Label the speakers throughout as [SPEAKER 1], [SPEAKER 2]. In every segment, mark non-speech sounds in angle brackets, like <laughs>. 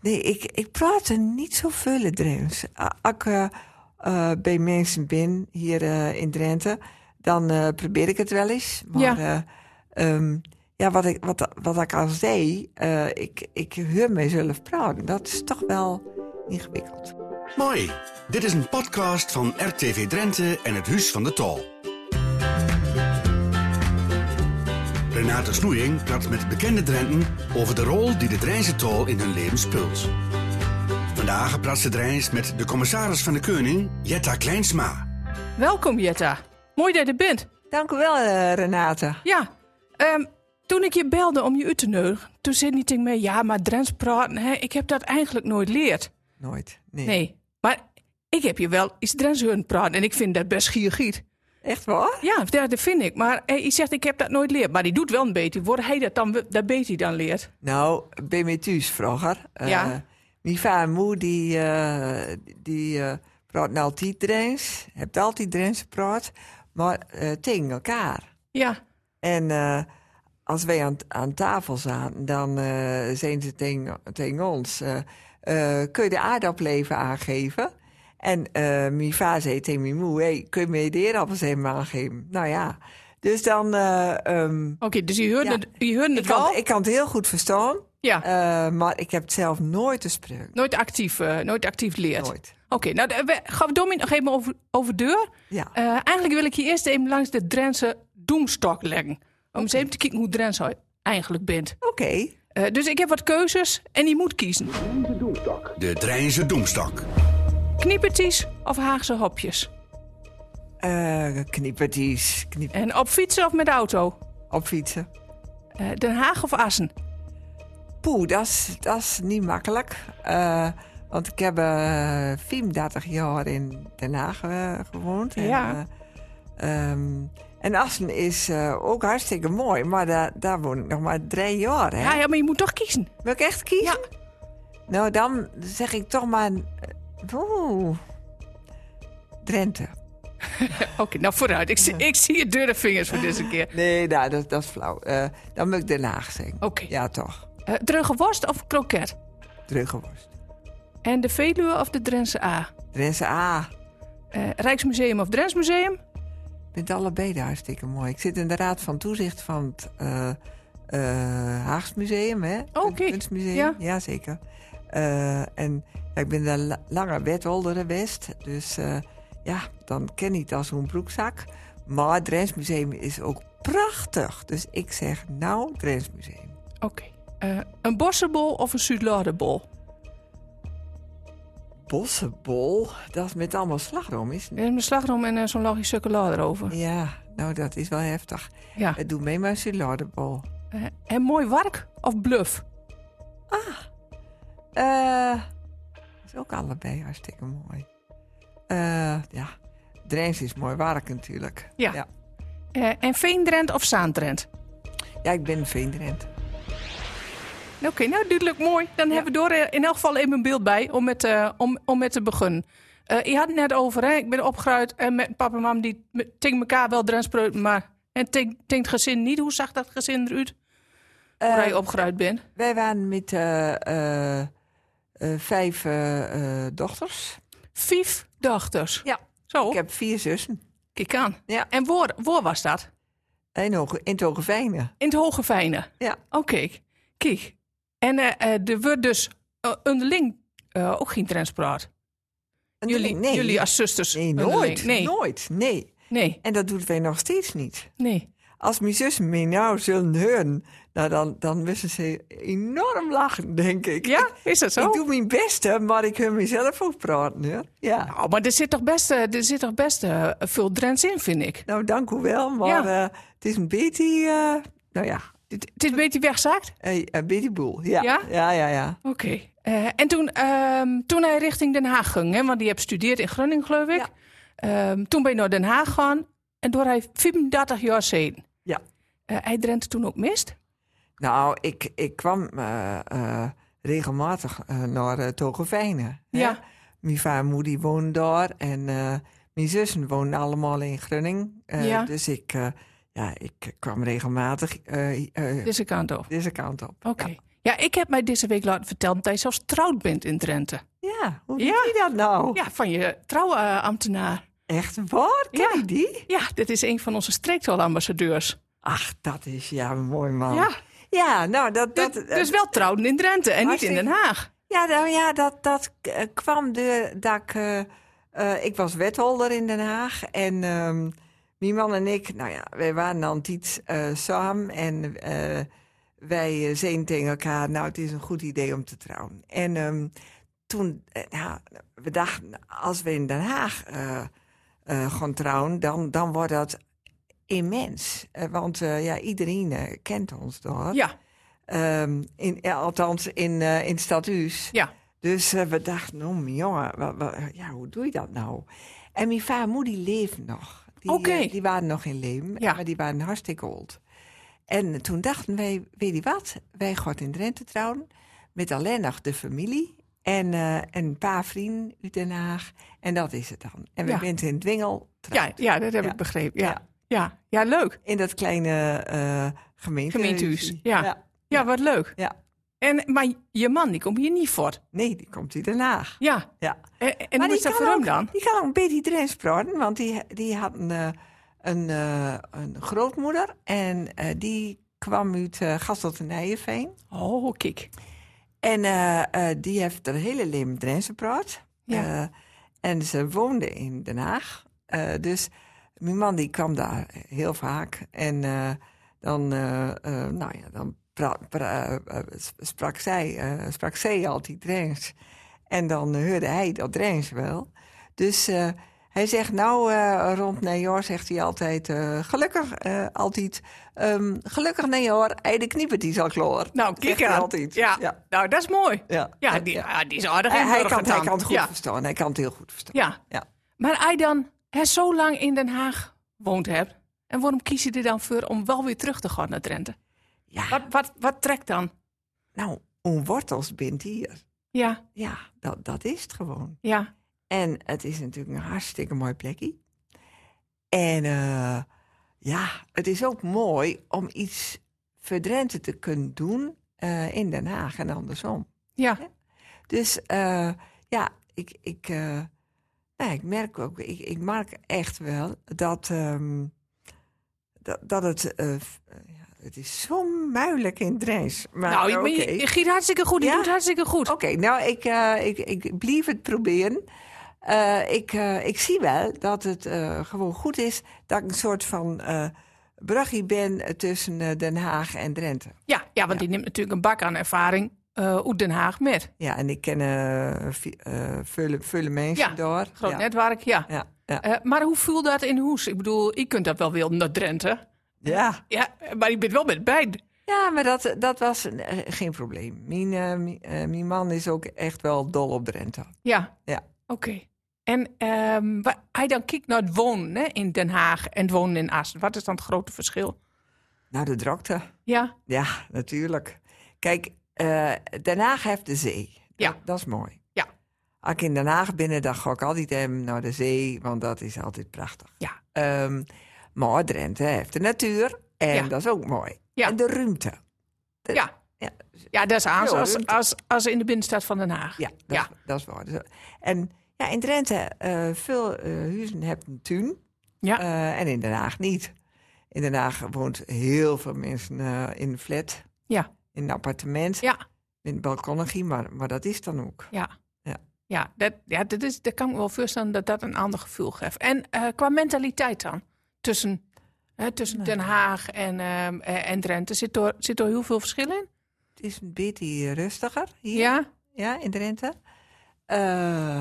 [SPEAKER 1] Nee, ik, ik praatte niet zoveel Drents. A- Als ik eh, eh, bij mensen ben hier eh, in Drenthe, dan eh, probeer ik het wel eens. Maar
[SPEAKER 2] Ja.
[SPEAKER 1] eh, ehm, ja, wat, ik, wat, wat ik al zei, eh, ik, ik hoor mezelf praten. Dat is toch wel ingewikkeld.
[SPEAKER 3] Mooi. Dit is een podcast van RTV Drenthe en het Huis van de Tal. Renate Snoeing praat met bekende Drenten over de rol die de Drijnse Tal in hun leven speelt. Vandaag praat ze Drijns met de commissaris van de Keuning, Jetta Kleinsma.
[SPEAKER 2] Welkom Jetta. Mooi dat je er bent.
[SPEAKER 1] Dank u wel, eh, Renate.
[SPEAKER 2] Ja, ehm, toen ik je belde om je uit te nodigen, toen zei niet tegen mij, ja, maar Drents praten, hè, ik heb dat eigenlijk nooit geleerd.
[SPEAKER 1] Nooit. Nee.
[SPEAKER 2] Nee, maar ik heb je wel iets Drents horen praten en ik vind dat best giergiet.
[SPEAKER 1] Echt waar?
[SPEAKER 2] Ja, dat dat vind ik. Maar eh, je zegt, ik heb dat nooit geleerd. Maar die doet wel een beetje. Wordt hij dat dan, we- dat beetje dan leert?
[SPEAKER 1] Nou, bij mij thuis vroeger. eh,
[SPEAKER 2] Ja.
[SPEAKER 1] mijn vader en moeder die, eh, die eh, praten altijd Drents. Hebt altijd Drents gepraat. Maar eh, tegen elkaar.
[SPEAKER 2] Ja,
[SPEAKER 1] En eh, als wij aan, aan tafel zaten, dan eh zeiden ze tegen, tegen ons... eh, eh, kun je de aardappelen even aangeven? En eh, mijn vader zei tegen mijn moeder... Hey, kun je me de aardappels even aangeven? Nou ja, dus dan... eh, ehm,
[SPEAKER 2] oké, dus je hoort
[SPEAKER 1] Ja.
[SPEAKER 2] het, je hoort
[SPEAKER 1] ik,
[SPEAKER 2] het
[SPEAKER 1] kan,
[SPEAKER 2] wel.
[SPEAKER 1] ik kan het heel goed verstaan...
[SPEAKER 2] ja,
[SPEAKER 1] Eh, maar ik heb het zelf nooit te spreken.
[SPEAKER 2] nooit actief, eh, nooit actief leert.
[SPEAKER 1] Nooit.
[SPEAKER 2] Oké, nou, de- we gaan Domin nog even over, over deur.
[SPEAKER 1] Ja.
[SPEAKER 2] Eh, eigenlijk wil ik je eerst even langs de Drentse doemstok leggen. Om eens even te kijken hoe Drents hij eigenlijk bent.
[SPEAKER 1] Oké.
[SPEAKER 2] Eh, dus ik heb wat keuzes en die moet kiezen.
[SPEAKER 3] De Drijnse Doemstak.
[SPEAKER 2] Kniepertjes of Haagse hopjes?
[SPEAKER 1] Eh kniepertjes, kniep
[SPEAKER 2] En op fietsen of met auto?
[SPEAKER 1] op fietsen.
[SPEAKER 2] Eh, Den Haag of Assen?
[SPEAKER 1] Poeh, dat is- dat is niet makkelijk. Eh, want ik heb eh 34 jaar in Den Haag eh, gewoond.
[SPEAKER 2] Ja.
[SPEAKER 1] En, eh, ehm, en Assen is eh, ook hartstikke mooi, maar daar daar woon ik nog maar drie jaar. Hè?
[SPEAKER 2] Ja, ja, maar je moet toch kiezen.
[SPEAKER 1] Wil ik echt kiezen?
[SPEAKER 2] Ja.
[SPEAKER 1] Nou, dan zeg ik toch maar... eh, Oeh. Drenthe.
[SPEAKER 2] Oké, nou vooruit. Ik, zie- ik zie je dure vingers voor deze keer.
[SPEAKER 1] Nee, nou, dat, dat is flauw. Eh, dan moet ik Den Haag zeggen.
[SPEAKER 2] Oké.
[SPEAKER 1] Ja, toch.
[SPEAKER 2] Eh droge worst of kroket?
[SPEAKER 1] Druggenworst.
[SPEAKER 2] En de Veluwe of de Drentse A?
[SPEAKER 1] Drentse A.
[SPEAKER 2] Eh, Rijksmuseum of Drents Museum?
[SPEAKER 1] Ik vind het allebei daar hartstikke mooi. Ik zit in de Raad van Toezicht van het eh eh, Haags Museum, hè?
[SPEAKER 2] Oh, Oké,
[SPEAKER 1] Het Kunstmuseum.
[SPEAKER 2] ja.
[SPEAKER 1] Jazeker. Eh, en ja, ik ben daar la- langer wetholder geweest. Dus eh, ja, dan ken ik het als een broekzak. Maar het Drents Museum is ook prachtig. Dus ik zeg nou Drents Museum.
[SPEAKER 2] Oké. Eh, een bossenbol of een Zuidlaardenbol?
[SPEAKER 1] Bossenbol, dat is met allemaal slagroom, is het niet?
[SPEAKER 2] En een slagroom en eh, zo'n lagje chocola erover.
[SPEAKER 1] Ja, nou dat is wel heftig.
[SPEAKER 2] Ja.
[SPEAKER 1] Eh, Doe mee maar Sulardebol.
[SPEAKER 2] Eh, en mooi wark of bluff?
[SPEAKER 1] Eh, is ook allebei hartstikke mooi. Eh, ja, Drents is mooi werk natuurlijk.
[SPEAKER 2] Ja.
[SPEAKER 1] Ja,
[SPEAKER 2] Eh, en Veendrent of Zaandrent?
[SPEAKER 1] Ja, ik ben een Eh, Veendrent.
[SPEAKER 2] Oké, nou duidelijk mooi. Dan hebben we door eh, in elk geval even een beeld bij om met, eh, om, om met te beginnen. Eh, je had het net over, hè? ik ben opgeruid en met papa en mam die me- tegen elkaar wel Drents praten, maar en tegen tegen het gezin niet. Hoe zag dat gezin eruit? Waar
[SPEAKER 1] Eh,
[SPEAKER 2] je opgeruid bent.
[SPEAKER 1] wij waren met eh, eh, eh, vijf eh, eh, dochters.
[SPEAKER 2] Vijf dochters.
[SPEAKER 1] Ja.
[SPEAKER 2] Zo,
[SPEAKER 1] Ik heb vier zussen.
[SPEAKER 2] kijk aan.
[SPEAKER 1] Ja.
[SPEAKER 2] En waar, waar was dat?
[SPEAKER 1] In, Hoge, in het Hogeveen.
[SPEAKER 2] In het Hoge Vijnen.
[SPEAKER 1] Ja.
[SPEAKER 2] Oké, Oh, kijk. En eh, eh, er wordt dus eh, onderling eh, ook geen Drents praat. Jullie,
[SPEAKER 1] nee,
[SPEAKER 2] jullie als zusters.
[SPEAKER 1] Nee,
[SPEAKER 2] onderling.
[SPEAKER 1] nooit.
[SPEAKER 2] Nee,
[SPEAKER 1] Nooit, nee.
[SPEAKER 2] nee,
[SPEAKER 1] En dat doen wij nog steeds niet.
[SPEAKER 2] nee.
[SPEAKER 1] Als mijn zus me nou zullen horen, nou dan, dan wisten ze enorm lachen, denk ik.
[SPEAKER 2] Ja, is dat zo?
[SPEAKER 1] Ik doe mijn beste, maar ik hoor mezelf ook praten. Hoor. Ja,
[SPEAKER 2] Nou, maar er zit toch best, eh, er zit toch best eh, veel Drents in, vind ik.
[SPEAKER 1] nou dank u wel, maar
[SPEAKER 2] Ja.
[SPEAKER 1] eh, het is een beetje, eh, nou ja,
[SPEAKER 2] Het het is een beetje wegzaakt.
[SPEAKER 1] eh, een beetje boel. Ja,
[SPEAKER 2] Ja?
[SPEAKER 1] ja, ja. ja.
[SPEAKER 2] Oké. Eh, en toen, ehm, toen hij richting Den Haag ging, hè, want die hebt gestudeerd in Groningen, geloof ik.
[SPEAKER 1] Ja.
[SPEAKER 2] Ehm, toen ben je naar Den Haag gegaan en door hij 35 jaar zeden.
[SPEAKER 1] Ja.
[SPEAKER 2] Eh, hij drenthe toen ook mist.
[SPEAKER 1] Nou, ik, ik kwam eh, eh, regelmatig eh, naar uh, Togevijnen. hè.
[SPEAKER 2] Ja.
[SPEAKER 1] Mijn vader en moeder die woonden daar en eh, mijn zussen woonden allemaal in Grunning. Eh,
[SPEAKER 2] Ja.
[SPEAKER 1] Dus ik, eh, ja, ik kwam regelmatig eh, eh,
[SPEAKER 2] Deze kant op.
[SPEAKER 1] deze kant op.
[SPEAKER 2] Dus- Oké.
[SPEAKER 1] Ja.
[SPEAKER 2] Ja, ik heb mij deze week laten vertellen dat je zelfs trouwd bent in Drenthe.
[SPEAKER 1] Ja, hoe
[SPEAKER 2] Ja.
[SPEAKER 1] doet hij dat nou?
[SPEAKER 2] Ja, van je trouwambtenaar.
[SPEAKER 1] Echt waar? Ken
[SPEAKER 2] Ja.
[SPEAKER 1] je die?
[SPEAKER 2] Ja, dit is een van onze streektalambassadeurs.
[SPEAKER 1] Ach, dat is ja een mooi man.
[SPEAKER 2] Ja.
[SPEAKER 1] Ja, nou, dat, dat,
[SPEAKER 2] Dus, dus wel trouwen in Drenthe en niet in
[SPEAKER 1] hartstikke-
[SPEAKER 2] Den Haag.
[SPEAKER 1] ja, nou, ja, dat, dat eh, kwam de, dat ik... eh, eh, ik was wetholder in Den Haag en ehm mijn man en ik, nou ja, wij waren dan iets eh, samen en eh, wij eh, zeiden tegen elkaar, nou, het is een goed idee om te trouwen. En ehm, toen, eh, nou, we dachten, als we in Den Haag eh, eh, gaan trouwen, dan, dan wordt dat immens. Eh, want eh, ja, iedereen eh, kent ons daar.
[SPEAKER 2] Ja,
[SPEAKER 1] Ehm, in, ja, althans, in, eh, in Stadhuis.
[SPEAKER 2] ja.
[SPEAKER 1] Dus eh, we dachten, oh, mijn jongen, wa- wa- ja, hoe doe je dat nou? En mijn vader en moeder die leefden nog. Die, eh,
[SPEAKER 2] Oké.
[SPEAKER 1] die waren nog in leven,
[SPEAKER 2] Ja.
[SPEAKER 1] maar die waren hartstikke oud. En eh, toen dachten wij, weet je wat? Wij gaan in Drenthe trouwen met alleen nog de familie en eh, een paar vrienden uit Den Haag. En dat is het dan. En we
[SPEAKER 2] Ja.
[SPEAKER 1] zijn in Dwingel trouwd.
[SPEAKER 2] Ja, ja dat heb
[SPEAKER 1] Ja.
[SPEAKER 2] ik begrepen. Ja.
[SPEAKER 1] Ja.
[SPEAKER 2] Ja. Ja. leuk.
[SPEAKER 1] In dat kleine eh gemeente.
[SPEAKER 2] Gemeentehuis, ja.
[SPEAKER 1] ja.
[SPEAKER 2] Ja, wat leuk.
[SPEAKER 1] Ja.
[SPEAKER 2] En, maar je man, die komt hier niet voor.
[SPEAKER 1] Nee, die komt uit Den Haag.
[SPEAKER 2] Ja.
[SPEAKER 1] Ja.
[SPEAKER 2] En, en hoe is dat voor
[SPEAKER 1] ook,
[SPEAKER 2] hem dan?
[SPEAKER 1] Die kan ook een beetje Drents praten, want die, die had een, eh, een, eh, een grootmoeder. En eh, die kwam uit eh Gasselt en Nijenveen.
[SPEAKER 2] Oh, kijk.
[SPEAKER 1] En eh, eh, die heeft haar hele leven Drents gepraat.
[SPEAKER 2] Ja.
[SPEAKER 1] Eh, en ze woonde in Den Haag. Eh, dus mijn man die kwam daar heel vaak. En eh, dan, eh, eh, nou ja, dan pra- pra- eh, eh, sprak, zij, eh, sprak zij altijd Drents. En dan hoorde hij dat Drents wel. Dus eh, hij zegt nou eh, rond Nijor, zegt hij altijd... eh, gelukkig, eh, altijd, ehm, gelukkig Nijor, hij de kniepert die zal kloor.
[SPEAKER 2] Nou,
[SPEAKER 1] Zegt
[SPEAKER 2] kijk
[SPEAKER 1] hij
[SPEAKER 2] aan.
[SPEAKER 1] altijd.
[SPEAKER 2] Ja.
[SPEAKER 1] Ja.
[SPEAKER 2] Nou, dat is mooi.
[SPEAKER 1] Ja.
[SPEAKER 2] Ja, die, ja, die is aardig
[SPEAKER 1] Hij,
[SPEAKER 2] in
[SPEAKER 1] hij kan,
[SPEAKER 2] Burgerland.
[SPEAKER 1] hij kan het goed
[SPEAKER 2] ja.
[SPEAKER 1] verstaan. Hij kan het heel goed verstaan.
[SPEAKER 2] ja.
[SPEAKER 1] Ja.
[SPEAKER 2] Maar hij dan hè, zo lang in Den Haag woont hebt... en waarom kies je er dan voor om wel weer terug te gaan naar Drenthe?
[SPEAKER 1] Ja.
[SPEAKER 2] Wat, wat, wat trekt dan?
[SPEAKER 1] Nou, onwortels bindt hier.
[SPEAKER 2] Ja,
[SPEAKER 1] Ja, dat, dat is het gewoon.
[SPEAKER 2] ja.
[SPEAKER 1] En het is natuurlijk een hartstikke mooi plekje. En eh, ja, het is ook mooi om iets verdrenten te kunnen doen eh, in Den Haag en andersom.
[SPEAKER 2] Ja,
[SPEAKER 1] Dus eh, ja, ik, ik, eh, nou, ik merk ook, ik, ik merk echt wel dat, ehm, dat, dat het, eh, f- eh, ja, het is zo moeilijk in Drents. Maar
[SPEAKER 2] nou,
[SPEAKER 1] oké.
[SPEAKER 2] je- je, je giet hartstikke goed. Je
[SPEAKER 1] Ja?
[SPEAKER 2] doet hartstikke goed.
[SPEAKER 1] Oké, nou, ik, eh, ik, ik blijf het proberen. Eh, ik, eh, ik zie wel dat het eh, gewoon goed is dat ik een soort van eh bruggie ben tussen eh, Den Haag en Drenthe.
[SPEAKER 2] Ja, ja, want die neemt natuurlijk een bak aan ervaring eh uit Den Haag met.
[SPEAKER 1] Ja, en ik ken eh vi- eh, vele, vele mensen
[SPEAKER 2] Ja,
[SPEAKER 1] door.
[SPEAKER 2] Groot
[SPEAKER 1] ja.
[SPEAKER 2] netwerk, ja.
[SPEAKER 1] Ja, ja.
[SPEAKER 2] Eh, maar hoe voelt dat in Hoes? Ik bedoel, je kunt dat wel willen naar Drenthe.
[SPEAKER 1] ja.
[SPEAKER 2] Ja, eh, maar je bent wel met beide.
[SPEAKER 1] Ja, maar dat, dat was een- eh, geen probleem. Mijn, eh, mijn, eh, mijn man is ook echt wel dol op Drenthe.
[SPEAKER 2] Ja,
[SPEAKER 1] Ja.
[SPEAKER 2] oké. En ehm, wa- hij dan kijkt naar het wonen hè, in Den Haag en het wonen in Assen. Wat is dan het grote verschil?
[SPEAKER 1] Nou, de drukte.
[SPEAKER 2] Ja,
[SPEAKER 1] Ja, natuurlijk. Kijk, eh, Den Haag heeft de zee.
[SPEAKER 2] Ja.
[SPEAKER 1] Dat, dat is mooi.
[SPEAKER 2] Ja.
[SPEAKER 1] Als ik in Den Haag binnen, dan ga ik altijd hem naar de zee, want dat is altijd prachtig.
[SPEAKER 2] ja,
[SPEAKER 1] Ehm, maar Drenthe heeft de natuur en
[SPEAKER 2] Ja.
[SPEAKER 1] dat is ook mooi.
[SPEAKER 2] Ja.
[SPEAKER 1] En de ruimte.
[SPEAKER 2] ja.
[SPEAKER 1] Ja,
[SPEAKER 2] Ja, dat is aan
[SPEAKER 1] Ja,
[SPEAKER 2] als,
[SPEAKER 1] dat-
[SPEAKER 2] als, als in de binnenstad van Den Haag.
[SPEAKER 1] ja, dat,
[SPEAKER 2] ja.
[SPEAKER 1] Is, dat is waar. Dus- En ja, in Drenthe, eh veel eh, huizen hebben een tuin.
[SPEAKER 2] Ja.
[SPEAKER 1] Eh, en in Den Haag niet. In Den Haag woont heel veel mensen eh, in een flat,
[SPEAKER 2] ja,
[SPEAKER 1] in een appartement,
[SPEAKER 2] ja,
[SPEAKER 1] in een balkonnegie, maar, maar dat is dan ook.
[SPEAKER 2] ja.
[SPEAKER 1] Ja.
[SPEAKER 2] Ja, dat, ja dat, is, dat kan ik me wel voorstellen dat dat een ander gevoel geeft. En eh, qua mentaliteit dan? Tussen, hè, tussen Den Haag en, ehm, eh, en Drenthe. Zit er, zit er heel veel verschil in?
[SPEAKER 1] Het is een beetje rustiger hier
[SPEAKER 2] Ja?
[SPEAKER 1] ja, in Drenthe. Eh,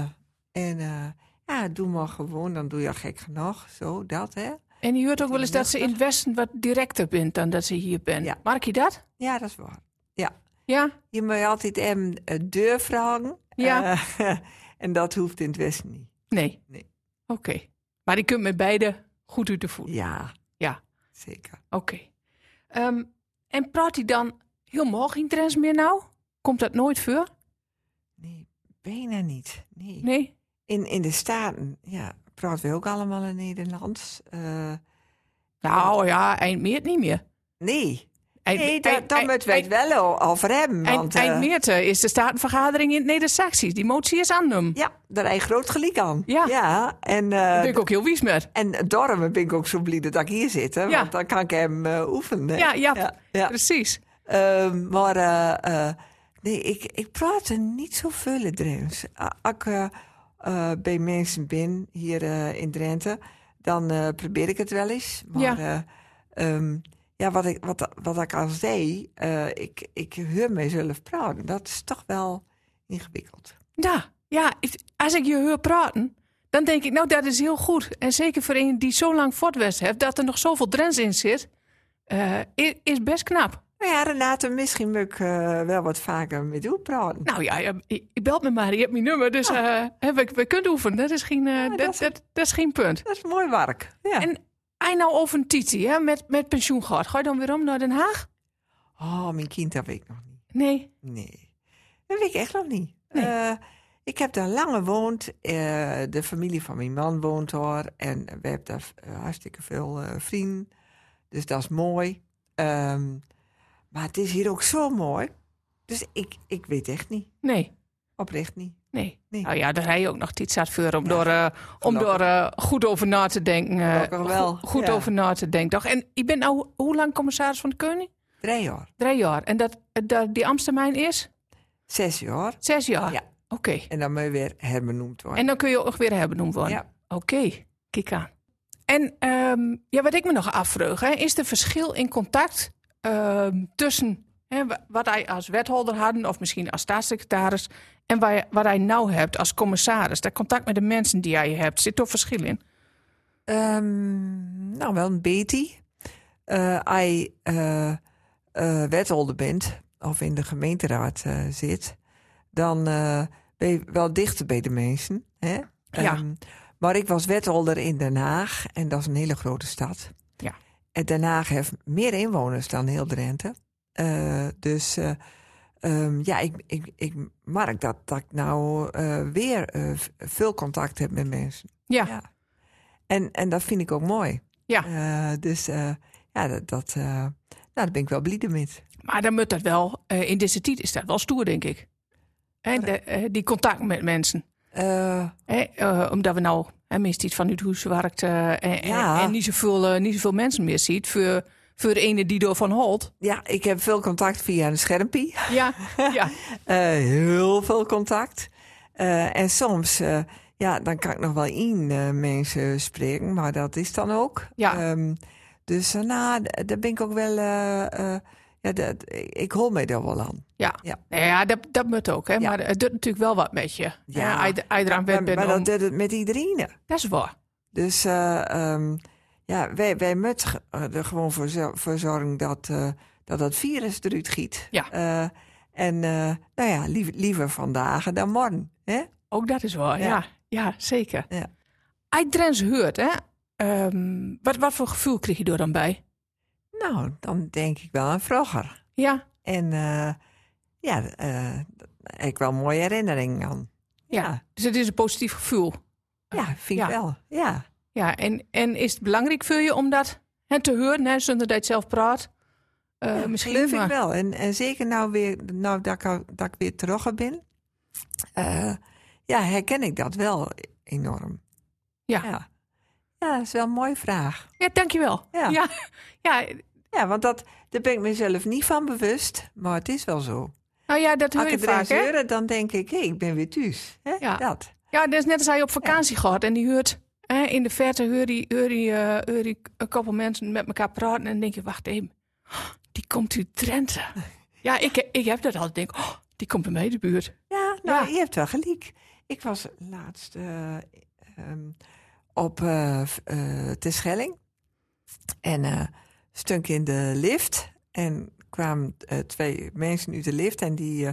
[SPEAKER 1] en eh, ja, doe maar gewoon, dan doe je al gek genoeg. Zo, dat hè.
[SPEAKER 2] En je hoort ook wel eens dat ze in het Westen wat directer bent dan dat ze hier bent.
[SPEAKER 1] Ja.
[SPEAKER 2] Merk je dat?
[SPEAKER 1] Ja, dat is waar. Ja.
[SPEAKER 2] Ja?
[SPEAKER 1] Je moet altijd hem eh, deur vragen.
[SPEAKER 2] Ja.
[SPEAKER 1] Eh, <laughs> en dat hoeft in het Westen niet.
[SPEAKER 2] Nee.
[SPEAKER 1] Nee.
[SPEAKER 2] Oké. Maar je kunt met beide goed uit de voet.
[SPEAKER 1] Ja,
[SPEAKER 2] Ja,
[SPEAKER 1] zeker.
[SPEAKER 2] oké. Ehm, en praat hij dan heel morgen in Drents meer nou? Komt dat nooit voor?
[SPEAKER 1] Nee, bijna niet. Nee.
[SPEAKER 2] Nee?
[SPEAKER 1] In, in de Staten, ja, praten we ook allemaal in Nederlands. Eh,
[SPEAKER 2] Nou ja, eind meer niet meer.
[SPEAKER 1] nee.
[SPEAKER 2] Eind-
[SPEAKER 1] Nee, da-
[SPEAKER 2] eind-
[SPEAKER 1] dan
[SPEAKER 2] eind-
[SPEAKER 1] moet wij het
[SPEAKER 2] eind-
[SPEAKER 1] wel o- over hebben.
[SPEAKER 2] Eind,
[SPEAKER 1] Want, eh,
[SPEAKER 2] eind maart eh, is de statenvergadering in het Neder-Saxisch. Die motie is aan hem.
[SPEAKER 1] ja, daar heb je groot gelijk aan.
[SPEAKER 2] Ja.
[SPEAKER 1] en,
[SPEAKER 2] Daar
[SPEAKER 1] eh
[SPEAKER 2] ben ik ook heel wies met.
[SPEAKER 1] en daarom ben ik ook zo blij dat ik hier zit. Hè,
[SPEAKER 2] Ja.
[SPEAKER 1] Want dan kan ik hem eh, oefenen.
[SPEAKER 2] Ja, ja,
[SPEAKER 1] ja.
[SPEAKER 2] precies.
[SPEAKER 1] Ehm, maar eh, eh, nee, ik, ik praat er niet zoveel in Drents. Als ik eh, eh, bij mensen ben hier eh, in Drenthe, dan eh, probeer ik het wel eens. Maar
[SPEAKER 2] Ja.
[SPEAKER 1] eh, ehm, ja, wat, ik, wat, wat ik al zei, eh, ik, ik hoor mezelf praten. Dat is toch wel ingewikkeld.
[SPEAKER 2] Ja, ja ik- als ik je hoor praten, dan denk ik, nou, dat is heel goed. En zeker voor een die zo lang voortwest heeft, dat er nog zoveel drens in zit, eh, i- is best knap.
[SPEAKER 1] Nou ja, Renate, misschien moet ik eh, wel wat vaker met u praten.
[SPEAKER 2] Nou ja, ja, je je belt me maar, je hebt mijn nummer, dus eh, hè, we, we kunnen oefenen. Dat is geen, eh, dat,
[SPEAKER 1] dat
[SPEAKER 2] dat,
[SPEAKER 1] is-
[SPEAKER 2] dat is geen punt.
[SPEAKER 1] Dat is mooi werk. Ja.
[SPEAKER 2] En hij nou over een titi, hè, met, met pensioen gehad. Ga je dan weer om naar Den Haag?
[SPEAKER 1] Oh, mijn kind, dat weet ik nog niet.
[SPEAKER 2] Nee.
[SPEAKER 1] Nee, dat weet ik echt nog niet.
[SPEAKER 2] Nee.
[SPEAKER 1] Eh, ik heb daar lang gewoond. Eh, de familie van mijn man woont daar. En we hebben daar eh, hartstikke veel eh, vrienden. Dus dat is mooi. Ehm, maar het is hier ook zo mooi. Dus ik, ik weet echt niet.
[SPEAKER 2] Nee.
[SPEAKER 1] Oprecht niet.
[SPEAKER 2] Nee.
[SPEAKER 1] Nee.
[SPEAKER 2] Nou ja, daar heb je ook nog tijd zat voor om door, eh, om
[SPEAKER 1] gelukkig.
[SPEAKER 2] door eh, goed over na te denken. eh,
[SPEAKER 1] Gelukkig wel,
[SPEAKER 2] go- goed
[SPEAKER 1] ja.
[SPEAKER 2] over na te denken. Toch? En je bent nou hoe lang commissaris van de Koning?
[SPEAKER 1] Drie jaar.
[SPEAKER 2] Drie jaar. En dat, eh, dat die Amstermijn is?
[SPEAKER 1] Zes jaar.
[SPEAKER 2] Zes jaar.
[SPEAKER 1] Ja.
[SPEAKER 2] Oké.
[SPEAKER 1] En dan moet je weer herbenoemd worden.
[SPEAKER 2] En dan kun je ook weer herbenoemd worden.
[SPEAKER 1] Ja.
[SPEAKER 2] Oké, kijk aan. En ehm, ja, wat ik me nog afvraag, hè, is er verschil in contact ehm, tussen hè, wa- wat hij als wethouder had, of misschien als staatssecretaris, en waar je- wat hij nou hebt als commissaris? Dat contact met de mensen die jij hebt, zit toch verschil in?
[SPEAKER 1] Ehm, nou, wel een beetje. Eh, Als je eh, eh, wethouder bent of in de gemeenteraad eh, zit, dan eh, ben je wel dichter bij de mensen. Hè?
[SPEAKER 2] Ja.
[SPEAKER 1] Ehm, maar ik was wethouder in Den Haag en dat is een hele grote stad.
[SPEAKER 2] Ja.
[SPEAKER 1] En Den Haag heeft meer inwoners dan heel Drenthe. Eh, dus eh, ehm, ja, ik, ik, ik merk dat, dat ik nou eh, weer eh, v- veel contact heb met mensen.
[SPEAKER 2] Ja, ja.
[SPEAKER 1] Ja. En, en dat vind ik ook mooi.
[SPEAKER 2] Ja.
[SPEAKER 1] Eh, dus eh, ja, dat, dat, eh, nou, daar ben ik wel blij met.
[SPEAKER 2] maar dan moet dat wel, eh, in deze tijd is dat wel stoer, denk ik. Hè, de- eh, die contact met mensen.
[SPEAKER 1] Eh,
[SPEAKER 2] Hè, eh, omdat we nou hè, meest iets van het huis werkt eh, en,
[SPEAKER 1] Ja.
[SPEAKER 2] en, en niet, zoveel, eh, niet zoveel mensen meer ziet. Voor, voor de ene die ervan houdt.
[SPEAKER 1] ja, ik heb veel contact via een schermpie.
[SPEAKER 2] Ja,
[SPEAKER 1] <laughs>
[SPEAKER 2] ja,
[SPEAKER 1] Eh, heel veel contact. Eh, en soms, eh, ja, dan kan ik nog wel één eh, mensen spreken, maar dat is dan ook.
[SPEAKER 2] Ja.
[SPEAKER 1] Ehm, dus eh, nou, d- daar ben ik ook wel. eh, eh, ja, dat, ik hol mij daar wel aan.
[SPEAKER 2] ja.
[SPEAKER 1] Ja.
[SPEAKER 2] Nou ja, dat, dat moet ook. Hè?
[SPEAKER 1] Ja.
[SPEAKER 2] Maar het doet natuurlijk wel wat met je.
[SPEAKER 1] Ja.
[SPEAKER 2] Ja. Iedereen aan
[SPEAKER 1] Maar,
[SPEAKER 2] bent
[SPEAKER 1] maar
[SPEAKER 2] om-
[SPEAKER 1] dat deed het met iedereen.
[SPEAKER 2] Dat is waar.
[SPEAKER 1] Dus eh, ehm, ja, wij, wij moeten ge- eh, er gewoon voor, zo- voor zorgen dat, eh, dat dat virus eruit giet.
[SPEAKER 2] Ja.
[SPEAKER 1] Eh, en eh, nou ja, lief- liever vandaag dan morgen. Hè?
[SPEAKER 2] Ook dat is waar, ja.
[SPEAKER 1] Ja.
[SPEAKER 2] Ja, zeker.
[SPEAKER 1] Ja.
[SPEAKER 2] Als je Drents hoort, hè? ehm, wat, wat voor gevoel kreeg je er dan bij?
[SPEAKER 1] Nou, dan denk ik wel aan vroeger.
[SPEAKER 2] Ja,
[SPEAKER 1] En eh, ja, eh, daar heb ik wel mooie herinneringen aan.
[SPEAKER 2] Ja.
[SPEAKER 1] ja,
[SPEAKER 2] dus het is een positief gevoel.
[SPEAKER 1] Ja, vind ik
[SPEAKER 2] Ja.
[SPEAKER 1] wel. Ja.
[SPEAKER 2] Ja, en, en is het belangrijk voor je om dat hè, te horen, hè, zonder dat je het zelf praat? Eh, misschien
[SPEAKER 1] geloof
[SPEAKER 2] maar-
[SPEAKER 1] ik wel. En, en zeker nou, weer, nou dat, ik, al- dat ik weer terug ben, eh, ja, herken ik dat wel enorm.
[SPEAKER 2] Ja.
[SPEAKER 1] ja. Ja, dat is wel een mooie vraag.
[SPEAKER 2] Ja, dankjewel.
[SPEAKER 1] Ja.
[SPEAKER 2] ja, ja,
[SPEAKER 1] Ja, want dat, daar ben ik mezelf niet van bewust, maar het is wel zo.
[SPEAKER 2] nou ja, dat
[SPEAKER 1] Als
[SPEAKER 2] hoor
[SPEAKER 1] ik
[SPEAKER 2] je
[SPEAKER 1] het
[SPEAKER 2] vaak,
[SPEAKER 1] eens
[SPEAKER 2] hè?
[SPEAKER 1] hoor, dan denk ik, hé, ik ben weer thuis. Hè?
[SPEAKER 2] Ja.
[SPEAKER 1] Dat.
[SPEAKER 2] Ja, dat is net als hij op vakantie gaat en die hoort... Hè, in de verte hoor die, hoor die, eh, hoor die een koppel mensen met elkaar praten... en dan denk je, wacht even, die komt uit Drenthe. ja, ik, ik heb dat altijd. denk, oh, die komt bij mij in de buurt.
[SPEAKER 1] Ja, nou,
[SPEAKER 2] Ja.
[SPEAKER 1] je hebt wel gelijk. Ik was laatst eh, ehm, op eh v- eh, Terschelling en eh, stunk in de lift. En kwamen eh, twee mensen uit de lift en die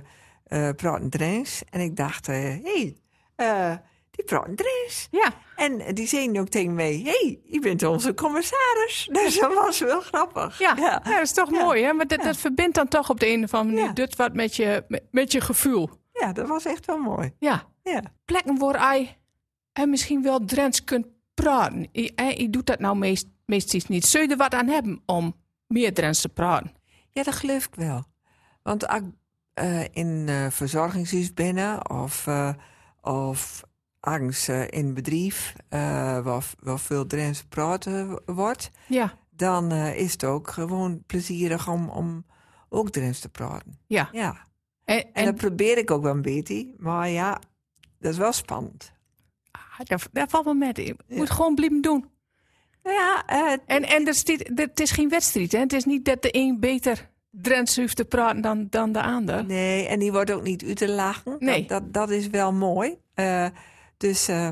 [SPEAKER 1] eh eh praten Drents. En ik dacht, hé, hey, eh, die praten Drents.
[SPEAKER 2] Ja,
[SPEAKER 1] En die zei ook tegen mij: Hé, hey, je bent onze commissaris. <laughs> Dus dat was wel grappig.
[SPEAKER 2] ja. ja. dat is toch
[SPEAKER 1] Ja.
[SPEAKER 2] mooi, hè? Maar dat, dat verbindt dan toch op de een of andere manier...
[SPEAKER 1] Ja.
[SPEAKER 2] dit wat met je, met, met je gevoel.
[SPEAKER 1] Ja, dat was echt wel mooi.
[SPEAKER 2] Ja,
[SPEAKER 1] Ja.
[SPEAKER 2] plekken waar hij en misschien wel Drents kunt praten. eh, Je, hè, je doet dat nou meest, meestal niet. Zul je er wat aan hebben om meer Drents te praten?
[SPEAKER 1] Ja, dat geloof ik wel. Want als ik eh, in eh verzorgingshuis binnen of, eh, of angst in bedrijf, eh, waar, waar veel Drents praten wordt,
[SPEAKER 2] Ja,
[SPEAKER 1] dan eh, is het ook gewoon plezierig om, om ook Drents te praten.
[SPEAKER 2] ja.
[SPEAKER 1] Ja.
[SPEAKER 2] En,
[SPEAKER 1] En,
[SPEAKER 2] en
[SPEAKER 1] dat probeer ik ook wel een beetje. Maar ja, dat is wel spannend.
[SPEAKER 2] ah, daar, daar valt wel met in. Je moet gewoon blijven doen.
[SPEAKER 1] Nou ja, eh,
[SPEAKER 2] En, en er stiet- er- het is geen wedstrijd, hè? Het is niet dat de een beter Drents hoeft te praten dan, dan de ander.
[SPEAKER 1] nee, en die wordt ook niet uit te lachen.
[SPEAKER 2] Nee.
[SPEAKER 1] Dat, dat, dat is wel mooi. Eh, dus eh,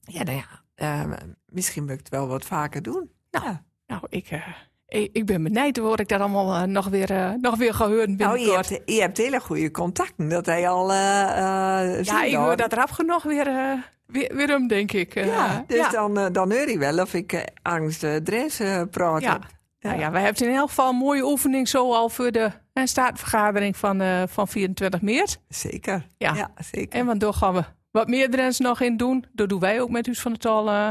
[SPEAKER 1] ja, nou ja, eh, misschien moet ik het wel wat vaker doen.
[SPEAKER 2] Nou,
[SPEAKER 1] ja.
[SPEAKER 2] Nou, ik, eh, ik, ik ben benijd hoor ik dat allemaal eh, nog, weer, eh, nog weer gehoord
[SPEAKER 1] nou je,
[SPEAKER 2] binnenkort.
[SPEAKER 1] hebt, je hebt hele goede contacten. Dat hij al. eh, eh,
[SPEAKER 2] ja, ik
[SPEAKER 1] zindoor-
[SPEAKER 2] hoor dat rap genoeg weer, eh, weer, weer om, denk ik. Eh,
[SPEAKER 1] Ja, dus
[SPEAKER 2] ja.
[SPEAKER 1] Dan, eh, dan hoor hij wel of ik eh, angst eh dress eh, praat
[SPEAKER 2] Ja.
[SPEAKER 1] heb.
[SPEAKER 2] Nou ja, wij hebben in elk geval een mooie oefening zo al voor de eh, staatvergadering van, eh, van 24 maart.
[SPEAKER 1] Zeker.
[SPEAKER 2] Ja.
[SPEAKER 1] zeker.
[SPEAKER 2] En want door gaan we wat meer Drents nog in doen. Dat doen wij ook met Huis van het Tal eh,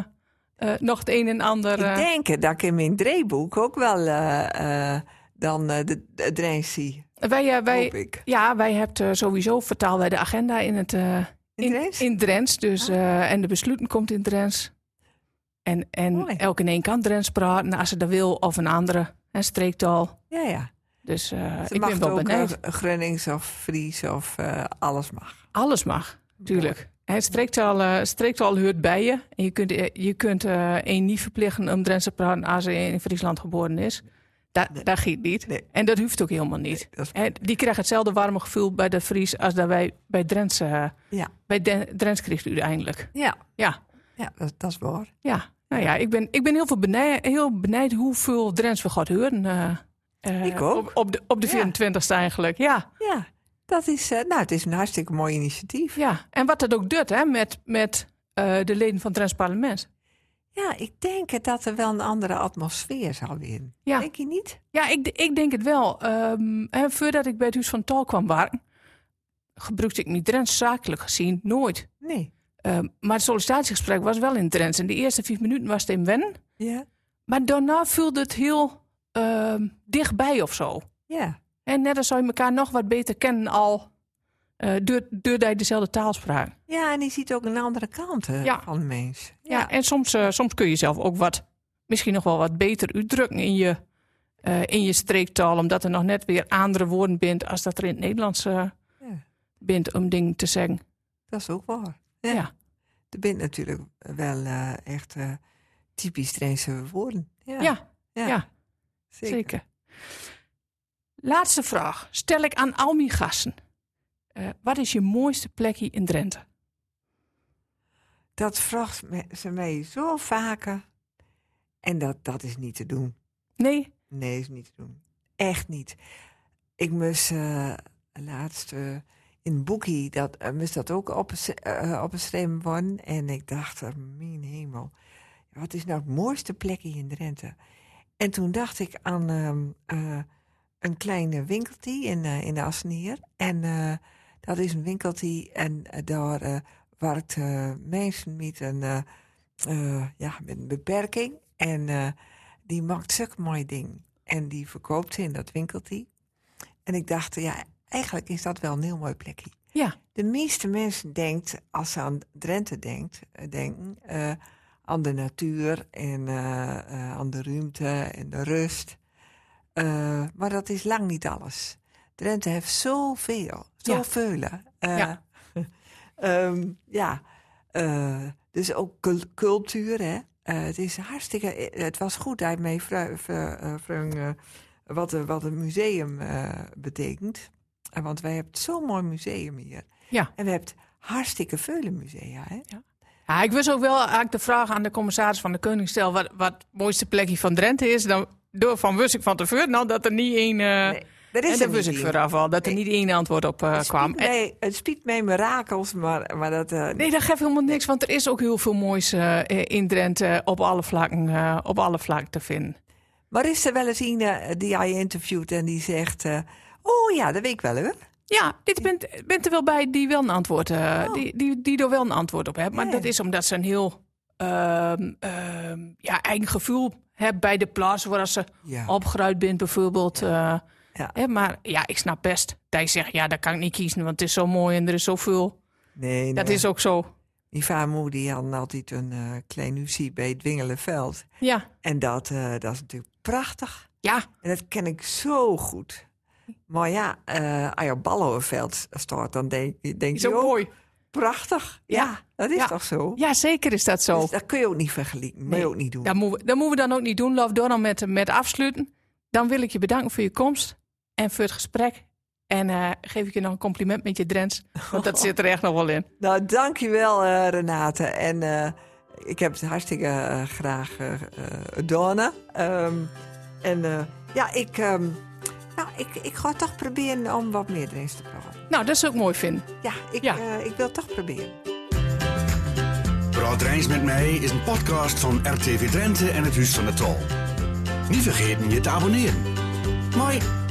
[SPEAKER 2] eh, nog het een en ander. eh,
[SPEAKER 1] Ik denk eh, dat ik in mijn draaiboek ook wel eh, eh, dan eh, de, de Drents zie.
[SPEAKER 2] wij, eh, wij,
[SPEAKER 1] hoop ik.
[SPEAKER 2] Ja, wij hebben eh, sowieso vertalen wij de agenda in het eh,
[SPEAKER 1] Drents? Ah.
[SPEAKER 2] in Drents, dus, eh, en de besluiten komt in Drents. En,
[SPEAKER 1] Mooi.
[SPEAKER 2] en elk in één kan Drents praten als ze dat wil of een andere en streektaal.
[SPEAKER 1] Ja, ja.
[SPEAKER 2] Dus eh,
[SPEAKER 1] Ze
[SPEAKER 2] ik
[SPEAKER 1] mag
[SPEAKER 2] ben wel
[SPEAKER 1] ook
[SPEAKER 2] benieuwd.
[SPEAKER 1] eh, Grunnings of Fries of eh, alles mag.
[SPEAKER 2] Alles mag, tuurlijk. Het streektaal, eh streektaal hoort bij je. En je kunt, eh, je kunt eh, een niet verplichten om Drents te praten als ze E in Friesland geboren is. Dat, dat giet niet.
[SPEAKER 1] Nee.
[SPEAKER 2] En dat hoeft ook helemaal niet.
[SPEAKER 1] dat is-
[SPEAKER 2] En die krijgt hetzelfde warme gevoel bij de Fries als dat wij bij Drents, eh,
[SPEAKER 1] Ja,
[SPEAKER 2] bij Den- Drents krijgt uiteindelijk.
[SPEAKER 1] ja.
[SPEAKER 2] Ja,
[SPEAKER 1] ja dat, dat is waar.
[SPEAKER 2] ja. Nou ja, ik ben, ik ben heel, veel benijd, heel benijd hoeveel Drents we gaan horen. eh, eh,
[SPEAKER 1] Ik ook.
[SPEAKER 2] Op, op de, op de
[SPEAKER 1] Ja.
[SPEAKER 2] 24ste eigenlijk, ja.
[SPEAKER 1] Ja, dat is, eh, nou, het is een hartstikke mooi initiatief.
[SPEAKER 2] ja. En wat dat ook doet hè, met, met eh, de leden van het Drents parlement.
[SPEAKER 1] Ja, ik denk eh, dat er wel een andere atmosfeer zal in.
[SPEAKER 2] Ja.
[SPEAKER 1] Denk je niet?
[SPEAKER 2] Ja, ik, d- ik denk het wel. Ehm, hè, voordat ik bij het Huis van Tal kwam waren, gebruikte ik niet Drents zakelijk gezien, nooit.
[SPEAKER 1] Nee.
[SPEAKER 2] Ehm, maar het sollicitatiegesprek was wel in Drents. En de eerste vier minuten was het in wennen.
[SPEAKER 1] Ja?
[SPEAKER 2] Maar daarna voelde het heel ehm, dichtbij of zo.
[SPEAKER 1] Ja.
[SPEAKER 2] En net als zou je elkaar nog wat beter kennen al eh door- doordat je dezelfde taal sprak.
[SPEAKER 1] Ja, en je ziet ook een andere kant eh,
[SPEAKER 2] Ja.
[SPEAKER 1] van de mens.
[SPEAKER 2] Ja, en soms, eh, soms kun je zelf ook wat, misschien nog wel wat beter uitdrukken in je, eh, in je streektaal, omdat er nog net weer andere woorden bent als dat er in het Nederlands eh bent om dingen te zeggen.
[SPEAKER 1] dat is ook waar.
[SPEAKER 2] Ja.
[SPEAKER 1] Ja. Er bent natuurlijk wel eh, echt eh, typisch Drentse woorden. Ja,
[SPEAKER 2] Ja, ja,
[SPEAKER 1] ja,
[SPEAKER 2] zeker. Laatste vraag. Stel ik aan al mijn gasten. Eh, wat is je mooiste plekje in Drenthe?
[SPEAKER 1] Dat vraagt me- ze mij zo vaker. En dat, dat is niet te doen.
[SPEAKER 2] Nee?
[SPEAKER 1] Nee, is niet te doen. Echt niet. Ik moest eh, laatst eh, in Boekie, dat eh, moest dat ook op, eh opgeschreven worden. En ik dacht, eh, mijn hemel, wat is nou het mooiste plekje in Drenthe? En toen dacht ik aan ehm, eh, een kleine winkeltje in, eh, in de Asnier. En eh, dat is een winkeltje en eh, daar eh, werkt eh, mensen met een, eh, eh, ja, met een beperking. En eh, die maakt zulke mooi ding. En die verkoopt ze in dat winkeltje. En ik dacht, ja, eigenlijk is dat wel een heel mooi plekje.
[SPEAKER 2] Ja,
[SPEAKER 1] De meeste mensen denkt, als ze aan Drenthe denkt, eh, denken eh, aan de natuur en eh, eh, aan de ruimte en de rust. Eh, maar dat is lang niet alles. Drenthe heeft zoveel, zoveel. Ja.
[SPEAKER 2] Ja.
[SPEAKER 1] <laughs> ehm, ja. eh, dus ook cul- cultuur, hè. Eh, het is hartstikke... eh, Het was goed dat hij mee vra- vra- eh, vroeg, eh, wat, een- wat een museum eh, betekent. Eh, Want wij hebben zo'n mooi museum hier.
[SPEAKER 2] ja.
[SPEAKER 1] En we hebben hartstikke vele musea, hè?
[SPEAKER 2] Ja, ik wist ook wel eigenlijk de vraag aan de commissaris van de Koning stel wat, wat het mooiste plekje van Drenthe is. Dan, door van wist ik van tevoren nou, dat er niet één. eh,
[SPEAKER 1] dat
[SPEAKER 2] en dat wist ik vooraf al, dat er niet één antwoord op eh, kwam. En-
[SPEAKER 1] Nee, het spiet mij mirakels, maar, maar dat... eh,
[SPEAKER 2] nee, dat geeft helemaal niks, want er is ook heel veel moois eh, eh, in Drenthe op alle vlakken, eh, op alle vlakken te vinden.
[SPEAKER 1] Maar is er wel eens een eh, die jij interviewt en die zegt... eh, oh ja, dat weet ik wel, hoor.
[SPEAKER 2] Ja, dit bent, bent er wel bij die wel een antwoord, eh, die, die, die er wel een antwoord op hebt. Maar
[SPEAKER 1] Ja.
[SPEAKER 2] dat is omdat ze een heel ehm, ehm, ja, eigen gevoel hebben bij de plaats waar ze
[SPEAKER 1] Ja.
[SPEAKER 2] opgeruimd bent bijvoorbeeld. eh,
[SPEAKER 1] Ja.
[SPEAKER 2] Hè, maar ja, ik snap best. Hij zegt, ja, dat kan ik niet kiezen, want het is zo mooi en er is zoveel.
[SPEAKER 1] Nee, nee.
[SPEAKER 2] Dat is ook zo.
[SPEAKER 1] Die vaarmoe die had altijd een eh, klein huzie bij het Dwingelenveld.
[SPEAKER 2] Ja,
[SPEAKER 1] En dat, eh, dat is natuurlijk prachtig.
[SPEAKER 2] ja,
[SPEAKER 1] En dat ken ik zo goed. Maar ja, eh als je op Ballenveld staat, dan denk, denk
[SPEAKER 2] is
[SPEAKER 1] je
[SPEAKER 2] ook
[SPEAKER 1] ook...
[SPEAKER 2] mooi.
[SPEAKER 1] Prachtig. Ja,
[SPEAKER 2] Ja.
[SPEAKER 1] dat is
[SPEAKER 2] Ja.
[SPEAKER 1] toch zo?
[SPEAKER 2] Ja, zeker is dat zo.
[SPEAKER 1] Dus dat kun je ook niet vergelijken. Moet
[SPEAKER 2] Nee.
[SPEAKER 1] je ook niet doen.
[SPEAKER 2] Dat moeten, we, dat moeten we dan ook niet doen. Laat door dan met, met afsluiten. Dan wil ik je bedanken voor je komst en voor het gesprek. En eh, geef ik je nog een compliment met je Drents. Want dat zit er echt nog wel in.
[SPEAKER 1] Nou, dankjewel eh Renate. En eh, ik heb het hartstikke eh, graag eh eh, gedaan. Ehm, en eh, ja, ik, ehm, nou, ik, ik ga toch proberen om wat meer erin te praten.
[SPEAKER 2] Nou, dat is ook mooi, vinden.
[SPEAKER 1] Ja, ik,
[SPEAKER 2] Ja.
[SPEAKER 1] eh, ik wil het toch proberen.
[SPEAKER 3] Praat Rijns met mij is een podcast van RTV Drenthe en het Huis van de Tal. Niet vergeten je te abonneren. Mooi.